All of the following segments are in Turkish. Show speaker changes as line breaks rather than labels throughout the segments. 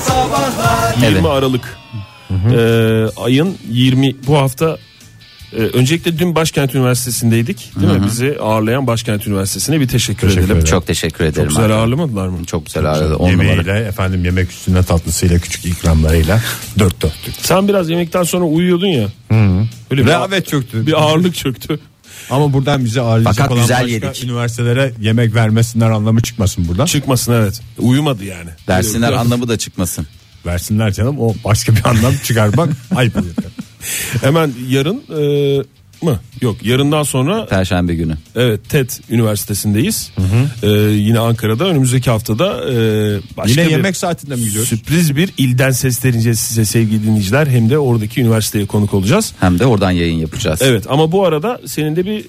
Sabahlar
20
Evet.
Aralık e, ayın 20 bu hafta e, öncelikle dün Başkent Üniversitesi'ndeydik değil mi? Bizi ağırlayan Başkent Üniversitesi'ne bir teşekkür, edelim.
ederim.
Çok teşekkür ederim.
Çok güzel
abi.
ağırlamadılar mı?
Çok güzel ağırladı. Ee, On numara.
yemeğiyle efendim yemek üstüne tatlısıyla küçük ikramlarıyla dört dörtlük.
Sen biraz yemekten sonra uyuyordun ya. Böyle bir,
Rehavet çöktü.
bir ağırlık çöktü.
Ama buradan bize ağırlayacak
Fakat
olan
güzel
başka
yedik.
üniversitelere yemek vermesinler anlamı çıkmasın buradan.
Çıkmasın evet. Uyumadı yani.
Dersinler
Böyle-
anlamı da çıkmasın.
Versinler canım o başka bir anlam çıkar bak ayıp olur.
Hemen yarın e, mı? Yok yarından sonra
Perşembe günü.
evet TED Üniversitesi'ndeyiz. E, yine Ankara'da önümüzdeki haftada e, başka
Yine
bir-
yemek saatinde mi gidiyoruz?
Sürpriz bir ilden sesleneceğiz size sevgili dinleyiciler. Hem de oradaki üniversiteye konuk olacağız.
Hem de oradan yayın yapacağız.
Evet ama bu arada senin de bir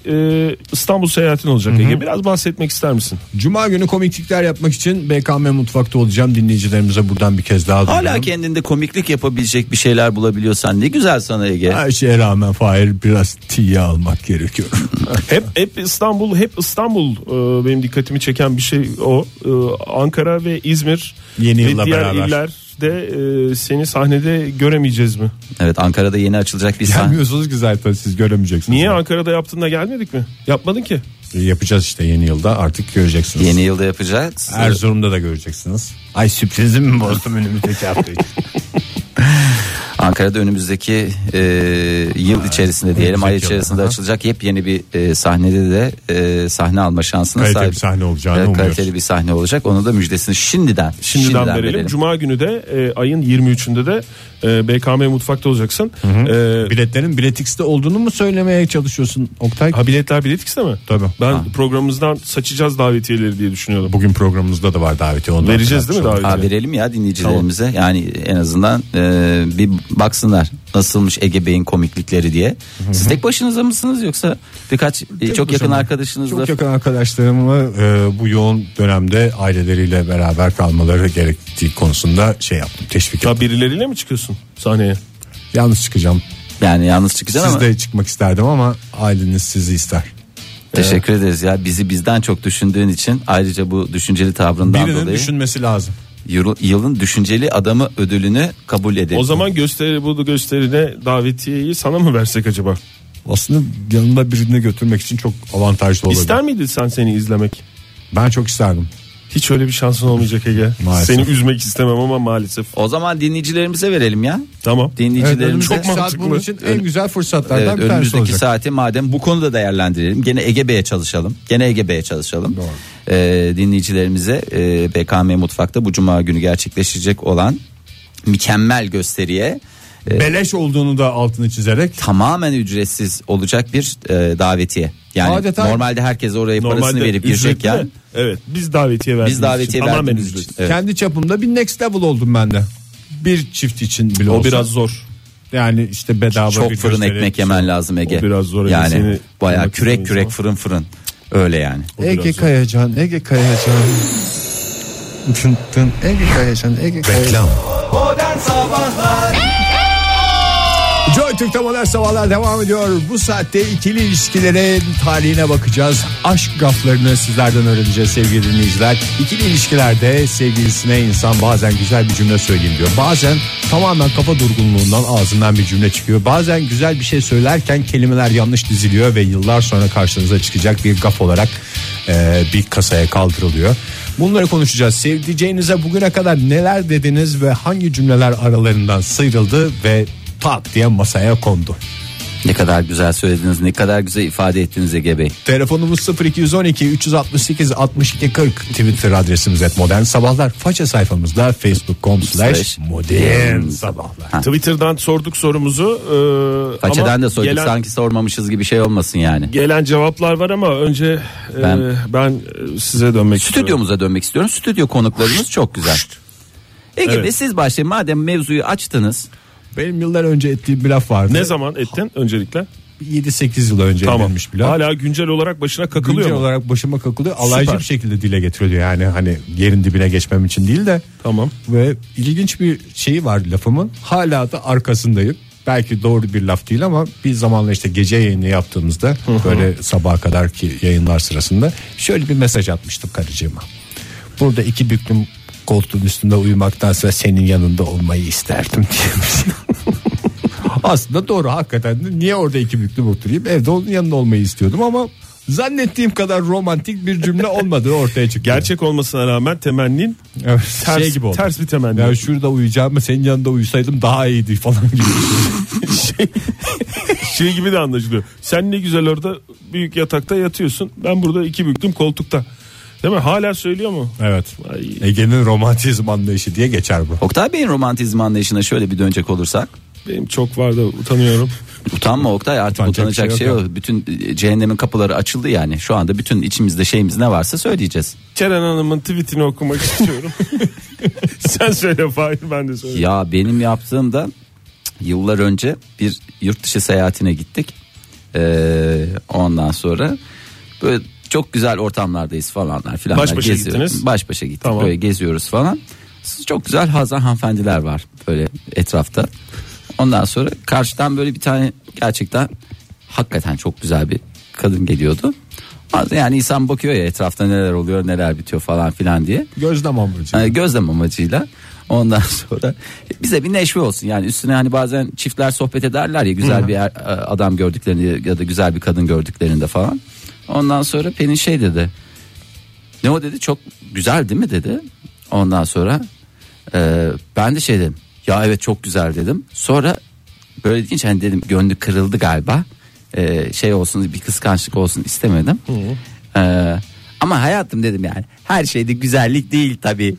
e, İstanbul seyahatin olacak Ege. Biraz bahsetmek ister misin?
Cuma günü komiklikler yapmak için BKM mutfakta olacağım dinleyicilerimize buradan bir kez daha
Hala
duyuralım.
kendinde komiklik yapabilecek bir şeyler bulabiliyorsan ne güzel sana Ege.
Her şeye rağmen Fahir biraz tiye almak gerekiyor.
Hep hep İstanbul, hep İstanbul e, benim dikkatimi çeken bir şey o. E, Ankara ve İzmir
Yeni
ve
yılla
diğer
beraber.
illerde e, seni sahnede göremeyeceğiz mi?
Evet Ankara'da yeni açılacak bir sahne.
Gelmiyorsunuz ki zaten siz göremeyeceksiniz. E,
Niye Ankara'da yaptığında gelmedik mi? Yapmadın ki.
Yapacağız işte yeni yılda artık göreceksiniz.
Yeni yılda yapacağız.
Erzurum'da da göreceksiniz. Ay sürprizim mi bozdum önümüzdeki hafta için?
Ankara'da önümüzdeki e, yıl içerisinde diyelim ay
önümüzdeki yıl.
içerisinde
Aha.
açılacak yepyeni bir e, sahnede de e, sahne alma şansına
Kaliteli
sahip.
bir sahne olacağını
Evet, Kaliteli
umuyoruz.
bir sahne olacak. Onu da müjdesini şimdiden
Şimdiden, verelim. Cuma günü de e, ayın 23'ünde de e, BKM mutfakta olacaksın. E,
Biletlerin biletikste olduğunu mu söylemeye çalışıyorsun Oktay?
Ha biletler bilet ikisi de mi?
Tabii.
Ben
Ha.
programımızdan saçacağız davetiyeleri diye düşünüyordum.
Bugün programımızda da var daveti. Onu da
Vereceğiz değil mi
hatırlatmış
Ha,
davetiye?
verelim ya dinleyicilerimize yani en azından e, bir baksınlar nasılmış Ege Bey'in komiklikleri diye. Siz tek başınıza mısınız yoksa birkaç e,
oldum.
çok yakın
Çok
arkadaşınızla
Çok yakın arkadaşlarımla e, bu yoğun dönemde aileleriyle beraber kalmaları gerektiği konusunda şey yaptım teşvik
Ya
ettim.
birileriyle mi çıkıyorsun sahneye?
Yalnız çıkacağım.
yani yalnız çıkacaksın
Siz
ama
de çıkmak isterdim ama aileniz sizi ister.
teşekkür ederiz ya bizi bizden çok düşündüğün için ayrıca bu düşünceli tavrından
Birinin
dolayı
düşünmesi lazım.
yıl- yılın düşünceli adamı ödülünü kabul edelim.
O zaman gösteri bu gösteride davetiyeyi sana mı versek acaba?
Aslında yanında birini götürmek için çok avantajlı olabilir.
İster miydin sen seni izlemek?
Ben çok isterdim.
Hiç öyle bir şansın olmayacak Ege.
Maalesef.
Seni üzmek istemem ama maalesef.
O zaman dinleyicilerimize verelim ya.
Tamam.
Dinleyicilerimize
Çok
Saat
mantıklı.
bunun için en güzel fırsatlardan
Evet,
bir tanesi
önümüzdeki
olacak.
saati madem bu konuda değerlendirelim. Gene Ege Bey'e çalışalım. Gene Ege Bey'e çalışalım. Ee, dinleyicilerimize e, BKM Mutfak'ta bu cuma günü gerçekleşecek olan mükemmel gösteriye
Beleş olduğunu da altını çizerek
tamamen ücretsiz olacak bir e, davetiye. Yani
Adeta-
normalde herkes oraya parasını
Normalde
verip girecek
ücretli
ya.
de, Evet biz davetiye verdiğimiz
davetiye
için tamamen
verdiğimiz
ücretli.
için. Evet.
kendi çapımda bir next level oldum ben de. Bir çift için bile
O
olsa.
biraz zor.
yani işte bedava
Çok
bir
fırın
gösteri.
ekmek yemen lazım Ege.
O biraz zor Ege,
yani
seni
bayağı
kırmak
kürek
istemeyiz
kürek
ama.
fırın fırın. Öyle yani.
biraz
Ege
zor.
Kayacan, Ege Kayacan. Tın tın, Ege Kayacan, Ege Kayacan.
Reklam.
Modern Sabahlar
Joy Türk'te modern sabahlar devam ediyor. Bu saatte ikili ilişkilerin tarihine bakacağız. Aşk gaflarını sizlerden öğreneceğiz sevgili dinleyiciler. İkili ilişkilerde sevgilisine insan bazen güzel bir cümle söyleyeyim diyor. Bazen tamamen kafa durgunluğundan ağzından bir cümle çıkıyor. Bazen güzel bir şey söylerken kelimeler yanlış diziliyor ve yıllar sonra karşınıza çıkacak bir gaf olarak e, bir kasaya kaldırılıyor. Bunları konuşacağız. Sevdiceğinize bugüne kadar neler dediniz ve hangi cümleler aralarından sıyrıldı ve tak diye masaya kondu.
Ne kadar güzel söylediniz. Ne kadar güzel ifade ettiniz Ege Bey.
Telefonumuz 0212 368 62 40 Twitter adresimiz et modern sabahlar. Faça sayfamızda facebook.com slash modern sabahlar.
Twitter'dan sorduk sorumuzu. e,
Façeden
ama
de sorduk
gelen-
sanki sormamışız gibi şey olmasın yani.
Gelen cevaplar var ama önce e, ben,
Ben-
e, size dönmek istiyorum.
Stüdyomuza dönmek istiyorum. Stüdyo konuklarımız çok güzel. Ege Bey,
Evet.
siz başlayın madem mevzuyu açtınız.
Benim yıllar önce ettiğim bir laf vardı.
Ne zaman ettin öncelikle?
7-8 yıl önce
Tamam.
edilmiş bir laf.
Hala güncel olarak başına kakılıyor
Güncel
mu?
olarak başıma kakılıyor. Alaycı
Süper.
bir şekilde dile getiriliyor. Yani hani yerin dibine geçmem için değil de.
Tamam.
Ve ilginç bir şeyi var lafımın. Hala da arkasındayım. Belki doğru bir laf değil ama bir zamanla işte gece yayını yaptığımızda böyle sabaha kadar ki yayınlar sırasında şöyle bir mesaj atmıştım karıcığıma. Burada iki büklüm koltuğun üstünde uyumaktansa senin yanında olmayı isterdim diye. Aslında doğru hakikaten de niye orada iki büklüm oturayım evde onun yanında olmayı istiyordum ama zannettiğim kadar romantik bir cümle olmadığı ortaya çıktı.
Gerçek olmasına rağmen temennin
Evet,
ters,
şey gibi oldu.
ters bir temenni.
Ya şurada uyuyacağım senin yanında uyusaydım daha iyiydi falan gibi.
şey gibi de anlaşılıyor. Sen ne güzel orada büyük yatakta yatıyorsun. Ben burada iki büktüm koltukta. Değil mi? Hala söylüyor mu?
evet.
Ay.
Ege'nin romantizm anlayışı diye geçer bu.
Oktay Bey'in romantizm anlayışına şöyle bir dönecek olursak.
Benim çok var da utanıyorum.
Utanma Oktay artık
Utanacak
utanacak
bir şey
şey
yok
yok. Bütün e, cehennemin kapıları açıldı yani. Şu anda bütün içimizde şeyimiz ne varsa söyleyeceğiz.
Ceren Hanım'ın tweetini okumak istiyorum. Sen söyle Fahir ben de söyleyeyim.
Ya benim yaptığımda yıllar önce bir yurt dışı seyahatine gittik. Ee, ondan sonra böyle çok güzel ortamlardayız falanlar filanlar.
Baş başa gittiniz?
Baş başa gittik
Tamam.
böyle geziyoruz falan. Çok güzel hazan hanımefendiler var böyle etrafta. Ondan sonra karşıdan böyle bir tane gerçekten hakikaten çok güzel bir kadın geliyordu. Yani insan bakıyor ya etrafta neler oluyor neler bitiyor falan filan diye.
Gözlem amacı.
Yani Hani gözlem amacıyla. Ondan sonra bize bir neşve olsun. Yani üstüne hani bazen çiftler sohbet ederler ya güzel bir er- adam gördüklerini ya da güzel bir kadın gördüklerinde falan. Ondan sonra Pelin şey dedi. Ne o dedi çok güzel değil mi dedi. Ondan sonra e, ben de şey dedim. Ya evet çok güzel dedim. Sonra böyle deyince hani dedim gönlü kırıldı galiba. E, şey olsun bir kıskançlık olsun istemedim. E, ama hayatım dedim yani her şeyde güzellik değil tabii.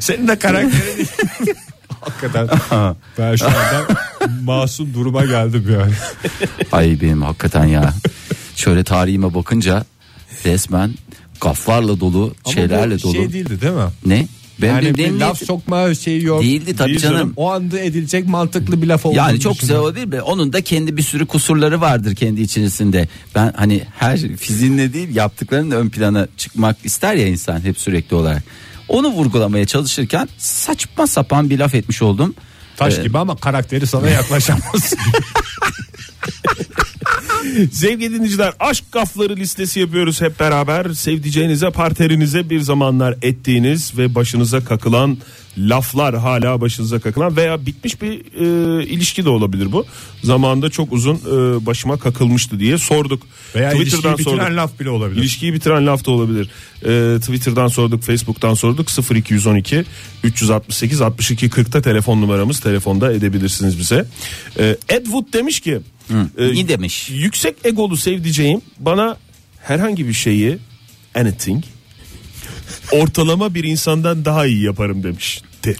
Senin de karakterin hakikaten. Ben şu anda masum duruma geldim yani.
Ay benim hakikaten ya. Şöyle tarihime bakınca resmen gaflarla dolu,
Ama
şeylerle
bu
dolu.
Şey değildi değil mi?
Ne? Ben
yani bir
benim
laf
niyetim-
sokma şeyi yok.
değildi tabii
Değil
canım.
canım.
O anda edilecek mantıklı bir laf olduğunu
Yani çok güzel
düşünüyorum.
olabilir mi? Onun da kendi bir sürü kusurları vardır kendi içerisinde. Ben hani her fiziğinle değil yaptıklarının ön plana çıkmak ister ya insan hep sürekli olarak. Onu vurgulamaya çalışırken saçma sapan bir laf etmiş oldum.
Taş
Ee,
gibi ama karakteri sana yaklaşamaz.
Sevgili dinleyiciler aşk gafları listesi yapıyoruz hep beraber. Sevdiceğinize partnerinize bir zamanlar ettiğiniz ve başınıza kakılan laflar hala başınıza kakılan veya bitmiş bir e, ilişki de olabilir bu. Zamanında çok uzun e, başıma kakılmıştı diye sorduk.
Veya
Twitter'dan
ilişkiyi bitiren
sorduk.
laf bile olabilir.
İlişkiyi bitiren laf da olabilir. Ee, Twitter'dan sorduk, Facebook'tan sorduk. 0212 368 62 40'ta telefon numaramız. Telefonda edebilirsiniz bize. Ee, Ed Wood demiş ki,
Ee,
e,
iyi demiş.
Yüksek egolu sevdiceğim bana herhangi bir şeyi anything ortalama bir insandan daha iyi yaparım demişti.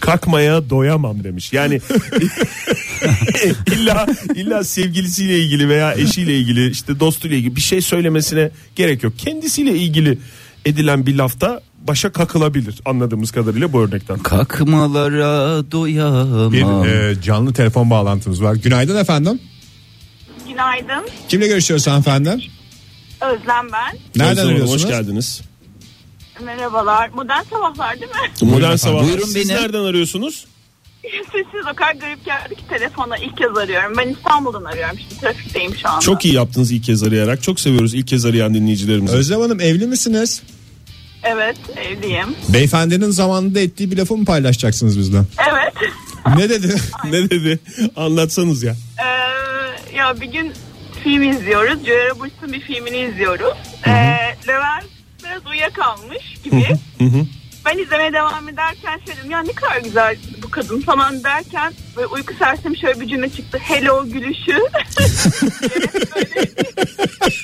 Kakmaya doyamam demiş. Yani illa illa sevgilisiyle ilgili veya eşiyle ilgili işte dostuyla ilgili bir şey söylemesine gerek yok. Kendisiyle ilgili edilen bir lafta başa kakılabilir anladığımız kadarıyla bu örnekten.
Kakmalara doyamam.
Bir e, canlı telefon bağlantımız var. Günaydın efendim.
Günaydın.
Kimle görüşüyoruz hanımefendi?
Özlem ben.
Özlem
Nereden
Hanım,
arıyorsunuz?
Hoş geldiniz.
Merhabalar. Modern sabahlar değil mi?
Modern
efendim.
Sabahlar.
Buyurun
Siz
benim.
nereden arıyorsunuz?
Sesiniz o kadar garip geldi ki telefona ilk kez arıyorum. Ben İstanbul'dan arıyorum. Şimdi trafikteyim şu anda.
Çok iyi yaptınız ilk kez arayarak. Çok seviyoruz ilk kez arayan dinleyicilerimizi.
Özlem Hanım evli misiniz?
Evet evliyim.
Beyefendinin zamanında ettiği bir lafı mı paylaşacaksınız bizden?
Evet.
ne dedi?
ne dedi? Anlatsanız ya.
Ee, ya bir gün film izliyoruz. Joyra Bush'un bir filmini izliyoruz. Ee, Levent biraz uyuyakalmış gibi. ben izlemeye devam ederken şey dedim ya ne kadar güzel bu kadın falan derken böyle uyku sersemi şöyle bir cümle çıktı. Hello gülüşü. böyle,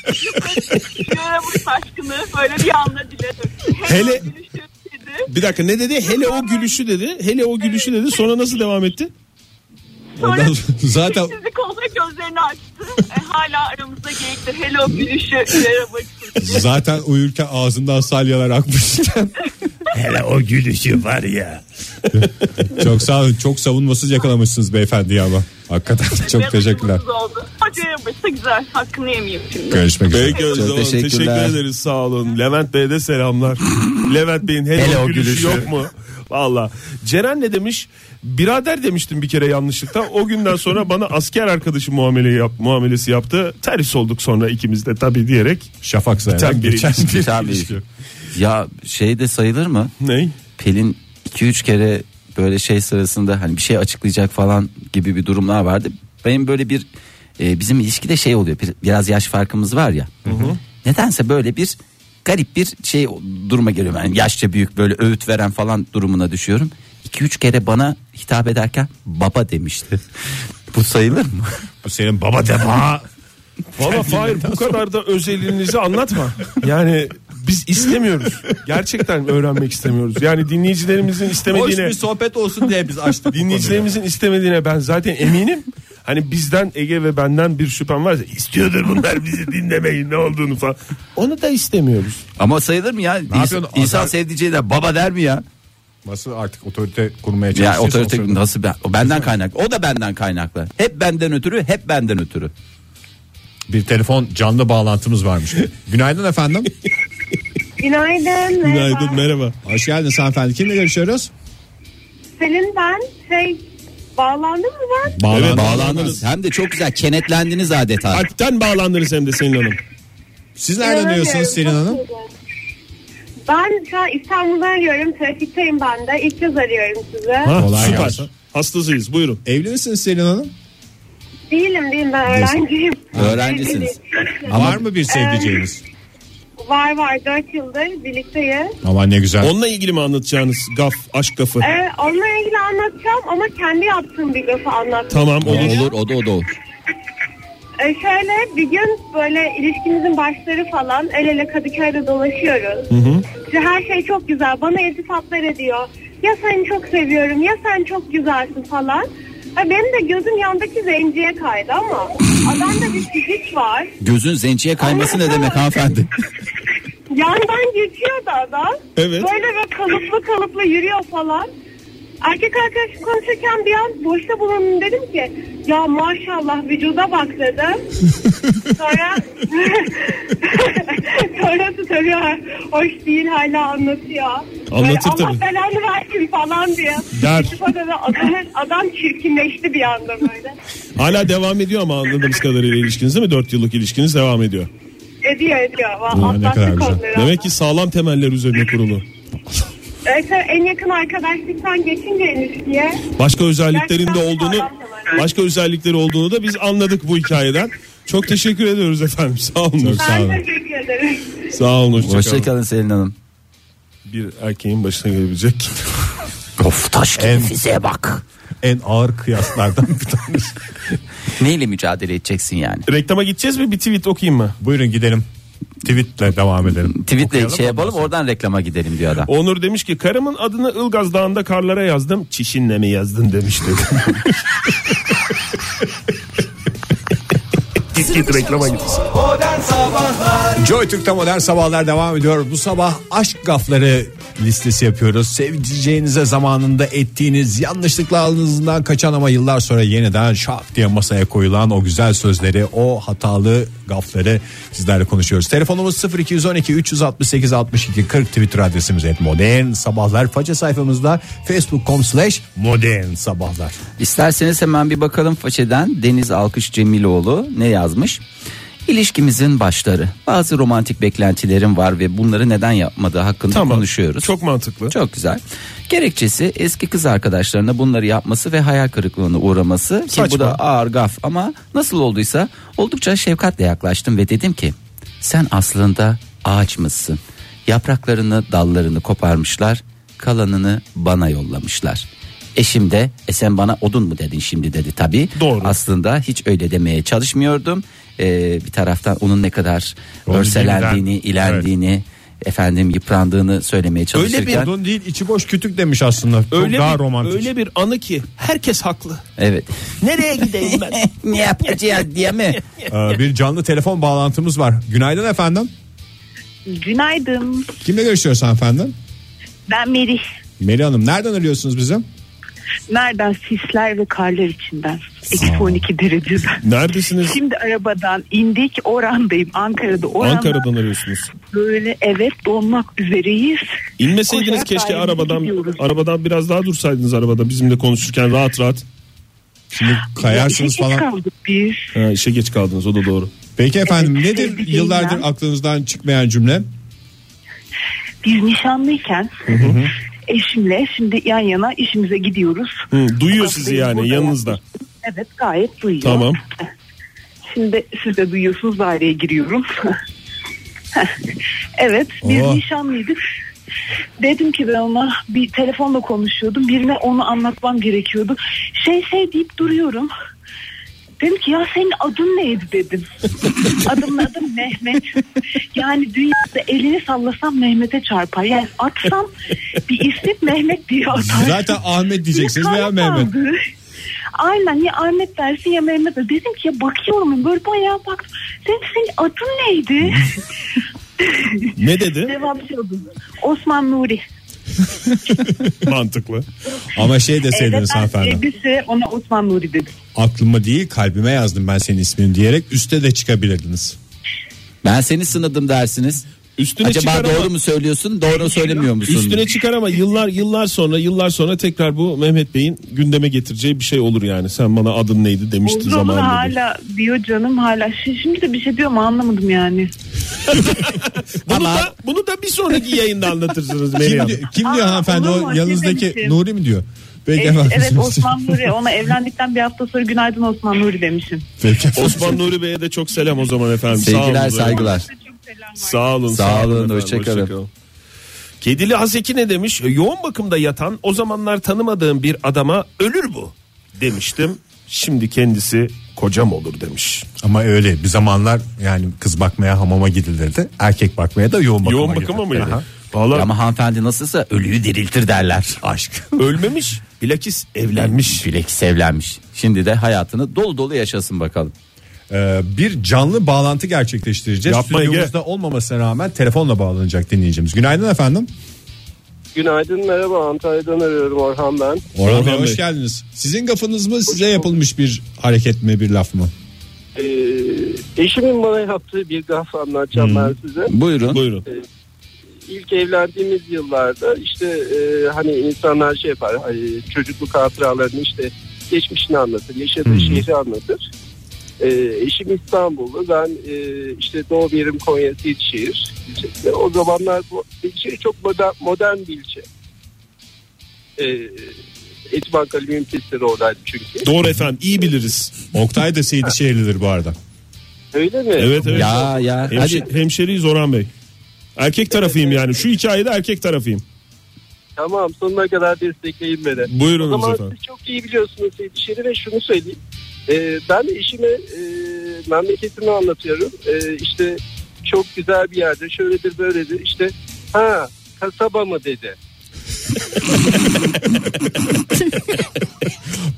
Joyra Bush aşkını böyle bir anda dile döktü. Hello
Hele-
gülüşü dedi.
Bir dakika ne dedi? Hele o gülüşü dedi. Hele o gülüşü dedi. Sonra nasıl devam etti?
Sonra
Ondan sonra zaten-
sessizlik oldu ve gözlerini açtı. E, hala aramızda geyikti. Hello gülüşü. Joyra Bush.
Zaten uyurken ağzından salyalar akmış.
Hele o gülüşü var ya.
çok sağ olun. Çok savunmasız yakalamışsınız beyefendi ama. Hakikaten çok
Biraz
teşekkürler.
acımasız Oldu. Hacı yapmışsa güzel. Hakkını yemeyeyim şimdi.
Görüşmek üzere.
Peki Özlem
Çok
Hanım, teşekkür,
teşekkürler.
ederiz sağ olun. Levent Bey'e de selamlar. Levent Bey'in hele, o gülüşü, yok mu? Valla. Ceren ne demiş? Birader demiştim bir kere yanlışlıkla. O günden sonra bana asker arkadaşı muameleyi yap, muamelesi yaptı. Terhis olduk sonra ikimiz de tabii diyerek.
Şafak
Biten
sayarak
bir
geçen
ilişki.
bir
Tabii.
ilişki.
Ya şey de sayılır mı?
Ney?
Pelin 2-3 kere böyle şey sırasında hani bir şey açıklayacak falan gibi bir durumlar vardı. Benim böyle bir e, bizim ilişkide şey oluyor. bir- Biraz yaş farkımız var ya. Nedense böyle bir garip bir şey duruma geliyorum. Yani yaşça büyük böyle öğüt veren falan durumuna düşüyorum. 2-3 kere bana hitap ederken baba demişti. Bu sayılır mı?
Bu senin baba deva.
Valla Fahir bu kadar da özelliğinizi anlatma. Yani biz istemiyoruz. Gerçekten öğrenmek istemiyoruz. Yani dinleyicilerimizin
Hoş
istemediğine
bir sohbet olsun diye biz açtık.
dinleyicilerimizin istemediğine ben zaten eminim. Hani bizden Ege ve benden bir şüphem varsa istiyordur bunlar bizi dinlemeyin ne olduğunu falan. Onu da istemiyoruz.
Ama sayılır mı ya? İns- İnsan,
yapıyorsun? Azar-
sevdiceği de baba der mi ya?
Nasıl artık otorite kurmaya
Ya
çalışıyorsun?
otorite nasıl ben, o benden kaynak. O da benden kaynaklı. Hep benden ötürü, hep benden ötürü.
Bir telefon canlı bağlantımız varmış. Günaydın efendim.
Günaydın. merhaba.
merhaba.
Hoş geldiniz hanımefendi. Kimle görüşüyoruz?
Senin ben şey bağlandım mı ben?
Bağlandınız.
Bağlandınız. Hem de çok güzel kenetlendiniz adeta.
Kalpten bağlandınız hem de Selin Hanım.
Siz nereden arıyorsunuz Selin Hanım?
Ben şu an İstanbul'dan arıyorum. Trafikteyim ben de. İlk kez arıyorum sizi.
Ha,
Kolay
süper.
gelsin.
Hastasıyız buyurun.
Evli misiniz Selin Hanım?
Değilim değilim ben öğrenciyim.
Öğrencisiniz.
Var mı bir sevdiceğiniz?
Var var 4 yıldır birlikteyiz.
Aman ne güzel.
Onunla ilgili mi anlatacağınız gaf, aşk gafı?
Ee, onunla ilgili anlatacağım ama kendi yaptığım bir lafı anlatacağım.
Tamam olur.
Olur o da o da olur.
Ee, şöyle bir gün böyle ilişkimizin başları falan el ele Kadıköy'de dolaşıyoruz. İşte her şey çok güzel. Bana iltifatlar ediyor. Ya seni çok seviyorum ya sen çok güzelsin falan. Ha, benim de gözüm yandaki zenciye kaydı ama adamda bir fizik var.
Gözün zenciye kayması ne demek hanımefendi?
Yandan geçiyor da adam.
Evet.
Böyle ve kalıplı kalıplı yürüyor falan. Erkek arkadaşım konuşurken bir an boşta bulundum dedim ki ya maşallah vücuda bak dedim. Sonra sonra tutarıyor. Hoş değil hala anlatıyor.
Anlatır
Böyle,
tabii.
Allah belanı versin falan diye.
Der.
Sonra da adam, adam çirkinleşti bir anda böyle.
Hala devam ediyor ama anladığımız kadarıyla ilişkiniz değil mi? 4 yıllık ilişkiniz devam ediyor.
Ediyor ediyor.
Ulan ne kadar
Atlattık
güzel.
onları.
Demek ki sağlam temeller üzerine kurulu.
Evet, en yakın arkadaşlıktan geçince ilişkiye
Başka özelliklerinde
Gerçekten
olduğunu
sağlam temeller.
başka özellikleri olduğunu da biz anladık bu hikayeden. Çok teşekkür ediyoruz efendim. Sağ olun.
Sağ olun.
Ben teşekkür ederim.
Sağ olun. hoşça kalın.
Hoşçakalın Selin Hanım.
Bir erkeğin başına gelebilecek.
Of taş gibi
En-
fiziğe bak.
En ağır kıyaslardan bir tanesi.
Neyle mücadele edeceksin yani?
Reklama gideceğiz mi? Bir tweet okuyayım mı?
Buyurun gidelim. Tweetle devam edelim.
Tweetle
Okuyalım
şey
ondan
yapalım
sonra.
oradan reklama gidelim diyor adam.
Onur demiş ki karımın adını Ilgaz Dağı'nda karlara yazdım. Çişinle mi yazdın demiş dedi. git git reklama git.
Joy Türk'te modern sabahlar devam ediyor. Bu sabah aşk gafları listesi yapıyoruz. Sevdiceğinize zamanında ettiğiniz yanlışlıkla ağzınızdan kaçan ama yıllar sonra yeniden şak diye masaya koyulan o güzel sözleri, o hatalı gafları sizlerle konuşuyoruz. Telefonumuz 0212 368 62 40 Twitter adresimiz et modern sabahlar. Faça sayfamızda facebook.com slash modern sabahlar.
İsterseniz hemen bir bakalım façeden Deniz Alkış Cemiloğlu ne yazmış? İlişkimizin başları. Bazı romantik beklentilerim var ve bunları neden yapmadığı hakkında
Tamam.
konuşuyoruz.
Çok mantıklı.
Çok güzel. Gerekçesi eski kız arkadaşlarına bunları yapması ve hayal kırıklığına uğraması. Ki
Saçma.
bu da ağır gaf ama nasıl olduysa oldukça şefkatle yaklaştım ve dedim ki sen aslında ağaç mısın? Yapraklarını dallarını koparmışlar kalanını bana yollamışlar. Eşim de e sen bana odun mu dedin şimdi dedi tabi.
Doğru.
Aslında hiç öyle demeye çalışmıyordum. Ee, bir taraftan onun ne kadar
Onu
örselendiğini,
yeniden-
ilendiğini, efendim yıprandığını söylemeye çalışırken.
Öyle bir
Pardon değil içi boş kütük demiş aslında. Çok
Öyle
daha
bir,
romantik.
öyle bir anı ki herkes haklı.
Evet.
Nereye gideyim ben?
ne yapacağız diye mi?
Ee, bir canlı telefon bağlantımız var. Günaydın efendim.
Günaydın.
Kimle görüşüyoruz efendim?
Ben Merih.
Meli Hanım nereden arıyorsunuz bizim?
Nereden? Sisler ve karlar içinden. Eksi 12 dereceden.
Neredesiniz?
Şimdi arabadan indik. Oran'dayım. Ankara'da. Oran'da
Ankara'dan arıyorsunuz.
böyle evet donmak üzereyiz.
İnmeseydiniz
Koşarak
keşke
dairemize
arabadan
gidiyoruz.
arabadan biraz daha dursaydınız arabada bizimle konuşurken rahat rahat.
Şimdi kayarsınız
Hiç
falan.
kaldık biz.
Ha, işe geç kaldınız o da doğru.
Peki efendim
Evet,
nedir
sevdiceğimden.
yıllardır aklınızdan çıkmayan cümle?
Biz nişanlıyken eşimle şimdi yan yana işimize gidiyoruz.
Hı, duyuyor
Sokaktayız,
sizi yani
burada
yanınızda.
Evet gayet duyuyor.
Tamam.
Şimdi siz de duyuyorsunuz daireye giriyorum. evet biz
Oo.
nişanlıydık. Dedim ki ben ona bir telefonla konuşuyordum. Birine onu anlatmam gerekiyordu. Şey şey deyip duruyorum. Dedim ki ya senin adın neydi dedim. Adımın adı Mehmet. Yani dünyada elini sallasam Mehmet'e çarpar. Yani atsam bir isim Mehmet diye atar.
Zaten Ahmet diyeceksiniz
Yine
veya
kan
Mehmet.
kaldı. Aynen ya Ahmet dersin ya Mehmet dersin. Dedim ki ya bakıyorum böyle bayağı baktım. Dedim senin adın neydi?
Ne dedi?
Cevap şey oldu. Osman Nuri.
Mantıklı.
Ama şey
Evde
deseydiniz
ben
hanımefendi.
elbise ona Osman Nuri dedim.
Aklıma değil kalbime yazdım ben senin ismini diyerek üste de çıkabilirdiniz.
Ben seni sınadım dersiniz.
Üstüne
Acaba
çıkar
doğru
ama,
mu söylüyorsun doğru söylemiyor musun?
üstüne çıkar ama yıllar yıllar sonra yıllar sonra tekrar bu Mehmet Bey'in gündeme getireceği bir şey olur yani. Sen bana adın neydi demiştin
Oldu onu
zamanında. diye.
hala diyor canım hala. Şi- Şimdi de bir şey diyor mu anlamadım yani.
Bunu
Ama-
da bunu da bir sonraki yayında anlatırsınız Meryem.
Kim, diyor- kim diyor
Aa,
hanımefendi
olur
o
mu?
yanınızdaki
Dememişim.
Nuri mi diyor? Peki
Evet,
efendim.
evet Osman Nuri ona evlendikten bir hafta sonra günaydın Osman Nuri demişim.
Peki efendim.
Osman Nuri Bey'e de çok selam o zaman efendim. Sağ olun.
Sevgiler saygılar.
Çok selam var.
Sağ olun.
Sağ olun,
efendim,
hoşçakalın.
Kedili Hazeki ne demiş? E, Yoğun bakımda yatan o zamanlar tanımadığım bir adama ölür bu demiştim. Şimdi kendisi kocam olur demiş.
Ama öyle bir zamanlar yani kız bakmaya hamama gidilirdi. Erkek bakmaya da yoğun bakıma
Yoğun bakıma
gidilirdi.
mıydı?
Aha.
Valla
Ama hanımefendi nasılsa ölüyü diriltir derler.
Aşk.
ölmemiş bilakis evlenmiş.
Bilekis evlenmiş. Şimdi de hayatını dolu dolu yaşasın bakalım.
Ee, bir canlı bağlantı gerçekleştireceğiz.
Yapma Ege.
Stüdyomuzda olmamasına rağmen telefonla bağlanacak dinleyicimiz. Günaydın efendim.
Günaydın merhaba Antalya'dan arıyorum Orhan ben.
Orhan Bey
Orhan Bey.
hoş geldiniz. Sizin kafanız mı size yapılmış bir hareket mi bir laf mı?
Ee, eşimin bana yaptığı bir gaf anlatacağım ben size.
Buyurun.
Buyurun.
İlk evlendiğimiz yıllarda işte e, hani insanlar şey yapar hani çocukluk hatıralarını işte geçmişini anlatır yaşadığı şehri anlatır. Ee, eşim İstanbul'da ben e, işte doğum yerim Konya Silşehir. İşte o zamanlar bu ilçe çok modern, modern bir ilçe. Ee, Etibank Alüminyum Testleri oradaydı çünkü.
Doğru efendim iyi biliriz.
Oktay da Seydişehirlidir bu arada.
Öyle mi?
Evet evet.
Ya ya
Hemşe-
hadi
hemşeriyiz Orhan Bey. Erkek tarafıyım yani. Şu hikayede erkek tarafıyım.
Tamam sonuna kadar destekleyin beni. O
Buyurunuz
zaman
efendim.
siz çok iyi biliyorsunuz Seydişehir'i ve şunu söyleyeyim. Ee, ben eşime e, memleketimi anlatıyorum. Ee, işte çok güzel bir yerde şöyledir böyledir. İşte ha kasaba mı dedi.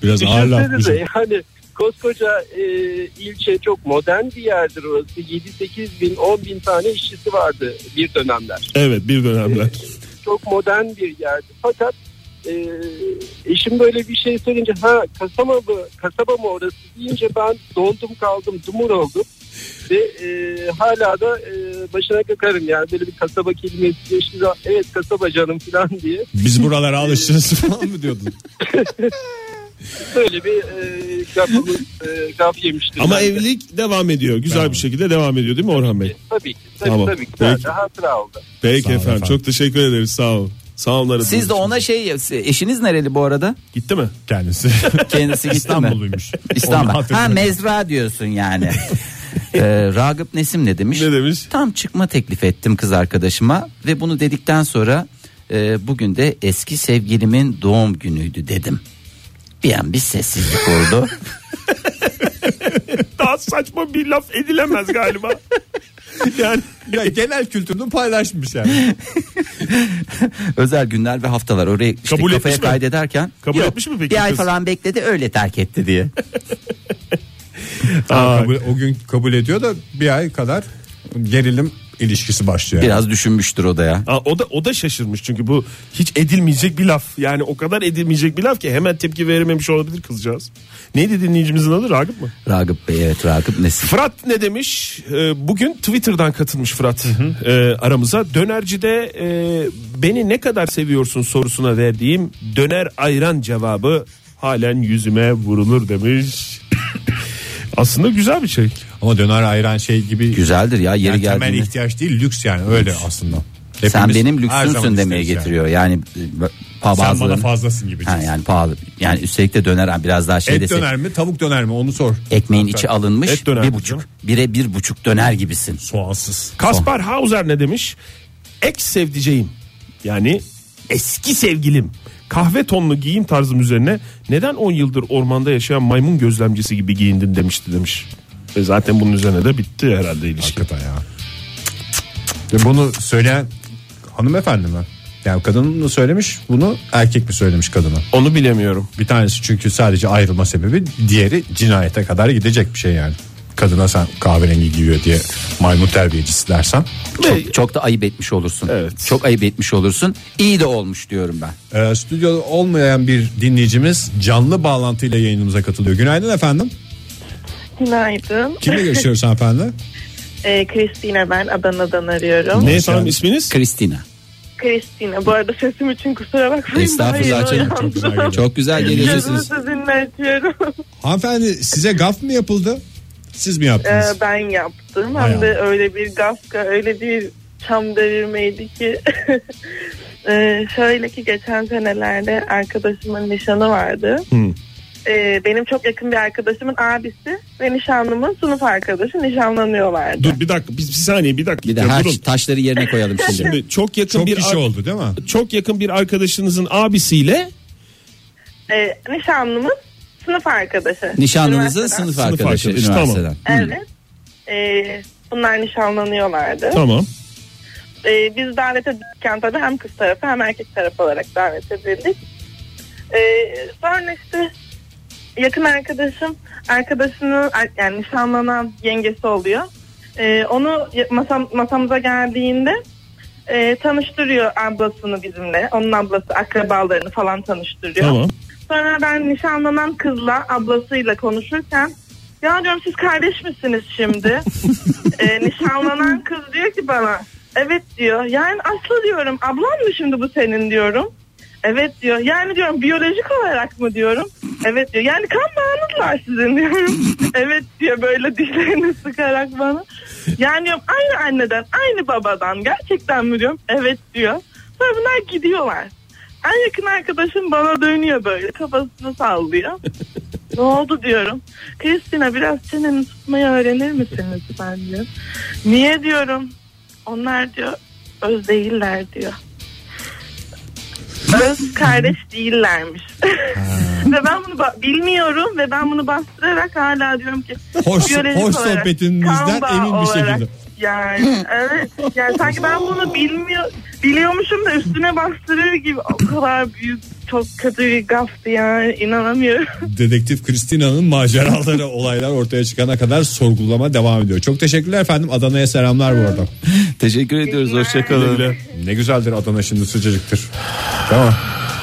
Biraz ağır lafmış.
Düşünsenize yani koskoca e, ilçe çok modern bir yerdir orası. 7-8 bin 10 bin tane işçisi vardı bir dönemler.
Evet bir dönemler.
çok modern bir yerdi. Fakat e, eşim böyle bir şey söyleyince ha kasaba mı, kasaba mı orası deyince ben dondum kaldım dumur oldum. Ve e, hala da e, başına kakarım yani böyle bir kasaba kelimesi geçti zaman, evet kasaba canım falan diye
Biz buralara alışırız falan mı diyordun?
böyle bir e, gafımız, e, gaf yemiştim.
Ama
ben de.
evlilik devam ediyor. Güzel bir şekilde devam ediyor değil mi Orhan Bey?
Tabii ki tabii,
Tamam,
tabii ki
peki.
Ben de hatıra oldu.
Peki
Sağ olun
efendim.
efendim.
Çok teşekkür ederiz. Sağ olun. Sağ olun aradığınız
siz de
için.
ona şey eşiniz nereli bu arada?
Gitti mi?
Kendisi.
Kendisi gitti mi?
İstanbulluymuş. Onu
İstanbul. Ha
hatırlıyorum.
mezra diyorsun yani. Ee, Ragıp Nesim ne demiş?
Ne demiş?
Tam çıkma teklif ettim kız arkadaşıma ve bunu dedikten sonra e, bugün de eski sevgilimin doğum günüydü dedim. Bir an bir sessizlik oldu.
Daha saçma bir laf edilemez galiba. yani
Ya genel kültürünü paylaşmış yani.
Özel günler ve haftalar oraya işte
Kabul
kafaya
etmiş mi?
kaydederken
Kabul
"Yok,
etmiş mi peki
Bir ay
kız?"
falan bekledi öyle terk etti diye.
Tamam, kabul- o gün kabul ediyor da bir ay kadar gerilim ilişkisi başlıyor.
Biraz düşünmüştür o da ya.
Aa, o da o da şaşırmış çünkü bu hiç edilmeyecek bir laf. Yani o kadar edilmeyecek bir laf ki hemen tepki verememiş olabilir kızcağız. Neydi dinleyicimizin adı Ragıp mı?
Ragıp Bey evet Ragıp Nesin.
Fırat ne demiş? Ee, bugün Twitter'dan katılmış Fırat ee, aramıza. Dönercide e, beni ne kadar seviyorsun sorusuna verdiğim döner ayran cevabı halen yüzüme vurulur demiş. Aslında güzel bir şey.
Ama döner ayran şey gibi
Güzeldir ya yeri
yani temel
geldiğinde.
ihtiyaç değil lüks yani öyle aslında.
Sen
Hepimiz
benim
her zaman
lüksünsün demeye
isteriz yani.
getiriyor. Yani, e, pa-
Sen bana
bazılarını-
fazlasın gibi.
Ha, yani pahalı. Yani üstelik de döner ha, biraz daha şey
Et
desek.
döner mi tavuk döner mi onu sor.
Ekmeğin içi alınmış
Et döner
bir
mi
buçuk.
canım?
Bire bir buçuk döner gibisin.
Soğansız.
Kaspar Hauser ne demiş? Ex sevdiceğim yani eski sevgilim kahve tonlu giyim tarzım üzerine neden 10 yıldır ormanda yaşayan maymun gözlemcisi gibi giyindin demişti demiş. Ve zaten bunun üzerine de bitti herhalde ilişki.
Hakikaten ya. Ve bunu söyleyen hanımefendi mi? Yani kadın mı söylemiş bunu erkek mi söylemiş kadına?
Onu bilemiyorum.
Bir tanesi çünkü sadece ayrılma sebebi diğeri cinayete kadar gidecek bir şey yani. Kadına sen kahverengi giyiyor diye maymun terbiyecisi dersen.
Ve
Çok da ayıp etmiş olursun.
Evet.
Çok ayıp etmiş olursun. İyi de olmuş diyorum ben.
Ee, stüdyoda olmayan bir dinleyicimiz canlı bağlantıyla yayınımıza katılıyor. Günaydın efendim.
Günaydın.
Kimle görüşüyoruz hanımefendi?
Ee, Kristina ben Adana'dan arıyorum.
ne efendim isminiz?
Kristina.
Kristina bu arada sesim için kusura bakmayın.
Estağfurullah
Daha yeni
canım.
uyandım.
güzel geliyor.
Çok güzel geliyorsunuz.
Gözümü sizinle açıyorum.
Hanımefendi size gaf mı yapıldı? Siz mi
Ee,
yaptınız?
ben yaptım.
Hay
Hem de öyle bir gafka öyle bir çam devirmeydi ki. Ee, şöyle ki geçen senelerde arkadaşımın nişanı vardı. Ee, benim çok yakın bir arkadaşımın abisi ve nişanlımın sınıf arkadaşı nişanlanıyorlardı.
Dur bir dakika biz bir saniye bir dakika.
Bir de
Ya
her
durun.
taşları yerine koyalım şimdi.
Şimdi çok yakın
şey. Çok
bir
kişi
ar-
oldu değil mi?
çok yakın bir arkadaşınızın abisiyle
Ee, nişanlımın sınıf arkadaşı.
Nişanlınızın
Üniversiteden.
sınıf arkadaşı
arkadaşı,
üniversiteden.
Evet. Ee, bunlar nişanlanıyorlardı.
tamam.
Ee, biz davet edilirken tabii hem kız tarafı hem erkek tarafı olarak davet edildik. Ee, sonra işte yakın arkadaşım arkadaşını er, yani nişanlanan yengesi oluyor. Ee, onu masam, masamıza geldiğinde e, tanıştırıyor ablasını bizimle. Onun ablası akrabalarını falan tanıştırıyor.
Tamam.
Sonra ben nişanlanan kızla ablasıyla konuşurken ya diyorum siz kardeş misiniz şimdi? Ee, nişanlanan kız diyor ki bana evet diyor. Yani Aslı diyorum ablan mı şimdi bu senin diyorum. Evet diyor. Yani diyorum biyolojik olarak mı diyorum. Evet diyor. Yani kan bağınız var sizin diyorum. evet diyor böyle dişlerini sıkarak bana. Yani diyorum aynı anneden aynı babadan gerçekten mi diyorum. Evet diyor. Sonra bunlar gidiyorlar. En yakın arkadaşım bana dönüyor böyle kafasını sallıyor. ne oldu diyorum. Kristina biraz çeneni tutmayı öğrenir misin lütfen diyor. Niye diyorum. Onlar diyor öz değiller diyor. Öz kardeş değillermiş. ve ben bunu ba- bilmiyorum ve ben bunu bastırarak hala diyorum ki
Hoş-
biyolojik
hoş
olarak,
sohbetinizden
kan bağı
emin bir
olarak
şekilde.
yani evet. Yani sanki ben bunu bilmiyor biliyormuşum da üstüne bastırır gibi o kadar büyük çok kötü bir gaftı yani inanamıyorum.
Dedektif Kristina'nın maceraları olaylar ortaya çıkana kadar sorgulama devam ediyor. Çok teşekkürler efendim. Adana'ya selamlar bu arada.
Teşekkür ediyoruz. Hoşçakalın.
Ne güzeldir Adana şimdi sıcacıktır. Tamam.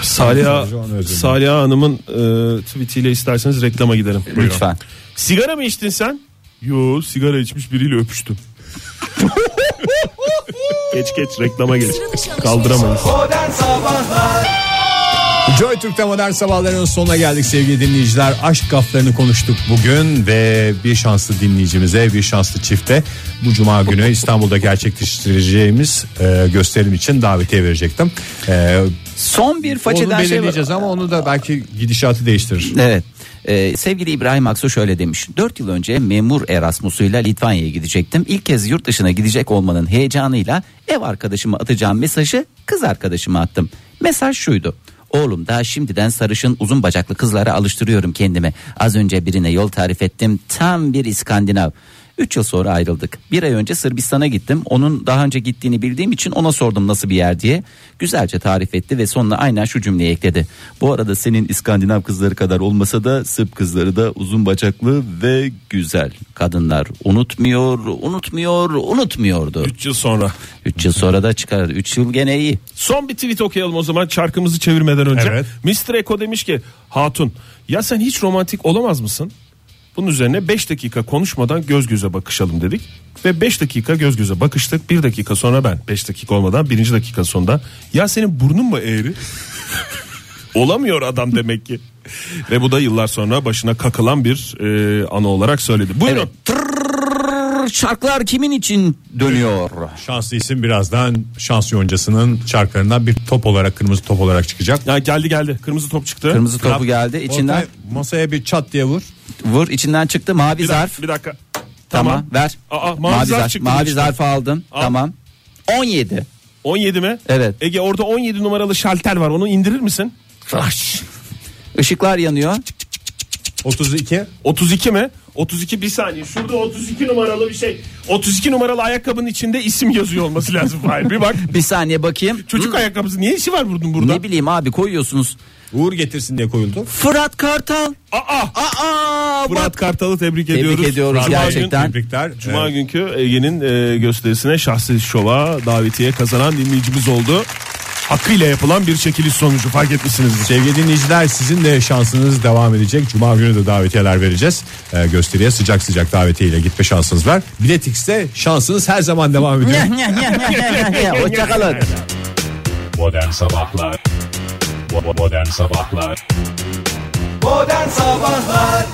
Saliha,
Sadece onu özür dilerim.
Saliha Hanım'ın e, tweetiyle isterseniz reklama gidelim.
Lütfen.
Sigara mı içtin sen? Yo sigara içmiş biriyle öpüştüm. geç geç reklama geç. Kaldıramayız.
Joy Türk'te modern sabahların sonuna geldik sevgili dinleyiciler. Aşk gaflarını konuştuk bugün ve bir şanslı dinleyicimize bir şanslı çifte bu cuma günü İstanbul'da gerçekleştireceğimiz e, gösterim için davetiye verecektim. E,
Son bir
onu
façeden şey var.
belirleyeceğiz ama onu da belki gidişatı değiştirir.
Evet. Ee, sevgili İbrahim Aksu şöyle demiş. 4 yıl önce memur Erasmus'uyla Litvanya'ya gidecektim. İlk kez yurt dışına gidecek olmanın heyecanıyla ev arkadaşıma atacağım mesajı kız arkadaşıma attım. Mesaj şuydu. Oğlum daha şimdiden sarışın uzun bacaklı kızlara alıştırıyorum kendimi. Az önce birine yol tarif ettim. Tam bir İskandinav. 3 yıl sonra ayrıldık. Bir ay önce Sırbistan'a gittim. Onun daha önce gittiğini bildiğim için ona sordum nasıl bir yer diye. Güzelce tarif etti ve sonuna aynen şu cümleyi ekledi. Bu arada senin İskandinav kızları kadar olmasa da Sırp kızları da uzun bacaklı ve güzel. Kadınlar unutmuyor, unutmuyor, unutmuyordu.
3 yıl sonra.
3 yıl sonra da çıkar. 3 yıl gene iyi.
Son bir tweet okuyalım o zaman çarkımızı çevirmeden önce.
Evet.
Mr. Eko demiş ki Hatun ya sen hiç romantik olamaz mısın? Bunun üzerine 5 dakika konuşmadan göz göze bakışalım dedik. Ve 5 dakika göz göze bakıştık. 1 dakika sonra ben 5 dakika olmadan 1. dakika sonunda ya senin burnun mu eğri? Olamıyor adam demek ki. Ve bu da yıllar sonra başına kakılan bir e, ana olarak söyledi. Buyurun.
Evet. Tırrrr, Şarkılar kimin için dönüyor?
Şanslı isim birazdan şans yoncasının çarklarından bir top olarak kırmızı top olarak çıkacak.
Ya geldi geldi. Kırmızı top çıktı.
Kırmızı topu geldi. içinden
Ortaya- masaya bir çat diye vur.
vur, içinden çıktı mavi
bir
zarf.
dakika. Bir dakika.
Tamam. ver.
Aa, mavi zarf çıktı
Mavi
işte.
zarfı aldım.
Al.
Tamam. 17.
17 mi?
Evet.
Ege orada 17 numaralı şalter var. Onu indirir misin?
Işıklar yanıyor.
32.
32 mi? 32 bir saniye. Şurada 32 numaralı bir şey. 32 numaralı ayakkabının içinde isim yazıyor olması lazım. Hayır bir bak.
Bir saniye bakayım.
Çocuk ayakkabısı niye işi var bunun burada?
Ne bileyim abi koyuyorsunuz.
Uğur getirsin diye koyuldu.
Fırat Kartal.
Aa!
Aa
Fırat
bak.
Kartal'ı tebrik
Tebrik
ediyoruz.
ediyoruz
Cuma Ee, gün-
gerçekten.
Tebrikler.
Cuma
Evet.
günkü Ege'nin e, gösterisine şahsi şova davetiye kazanan dinleyicimiz oldu. Hakkıyla yapılan bir çekiliş sonucu fark etmişsinizdir.
Sevgili dinleyiciler sizin de şansınız devam edecek. Cuma günü de davetiyeler vereceğiz. Ee, gösteriye sıcak sıcak davetiyeyle gitme şansınız var. Biletix'te şansınız her zaman devam ediyor.
Hoşçakalın.
Modern Sabahlar Bo- Modern Sabahlar
Modern Sabahlar